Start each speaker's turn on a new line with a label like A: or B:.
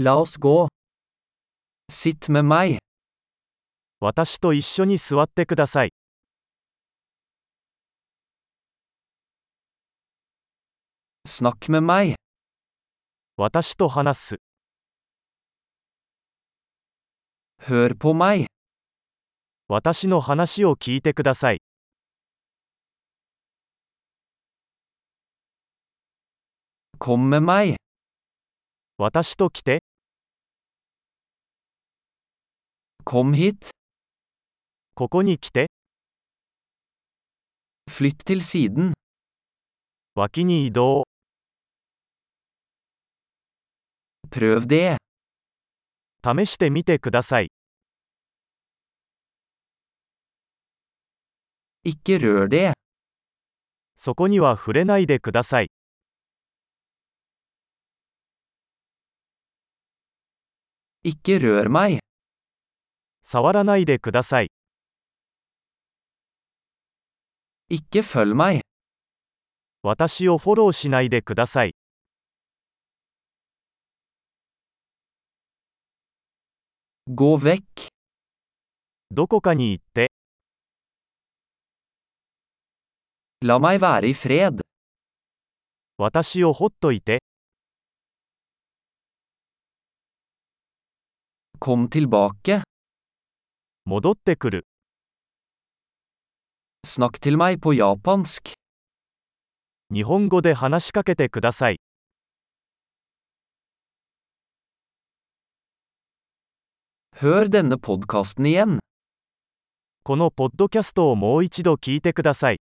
A: La oss gå. Sitt med meg.
B: 私と一緒に座ってください。
A: Snakk med meg.
B: 私と話す。
A: Hør på meg.
B: 私の話を聞いてください。
A: Kom med meg.
B: 私と来て、
A: Kom hit.
B: ここに来て、
A: Flytt til siden.
B: 脇に移動。
A: Prøv det.
B: 試してみてください。
A: Ikke rør det.
B: そこには触れないでください。
A: Ikke rør meg.
B: 触らないでください。
A: Ikke følg meg.
B: 私をフォローしないでください。
A: Gå vekk.
B: どこかに行って、
A: La meg være i fred.
B: 私をほっといて、
A: Kom tilbake.
B: 戻ってくる。
A: Snakk til meg på japansk.
B: 日本語で話しかけてください。
A: Hør denne podkasten igjen.
B: このポッドキャストをもう一度聞いてください。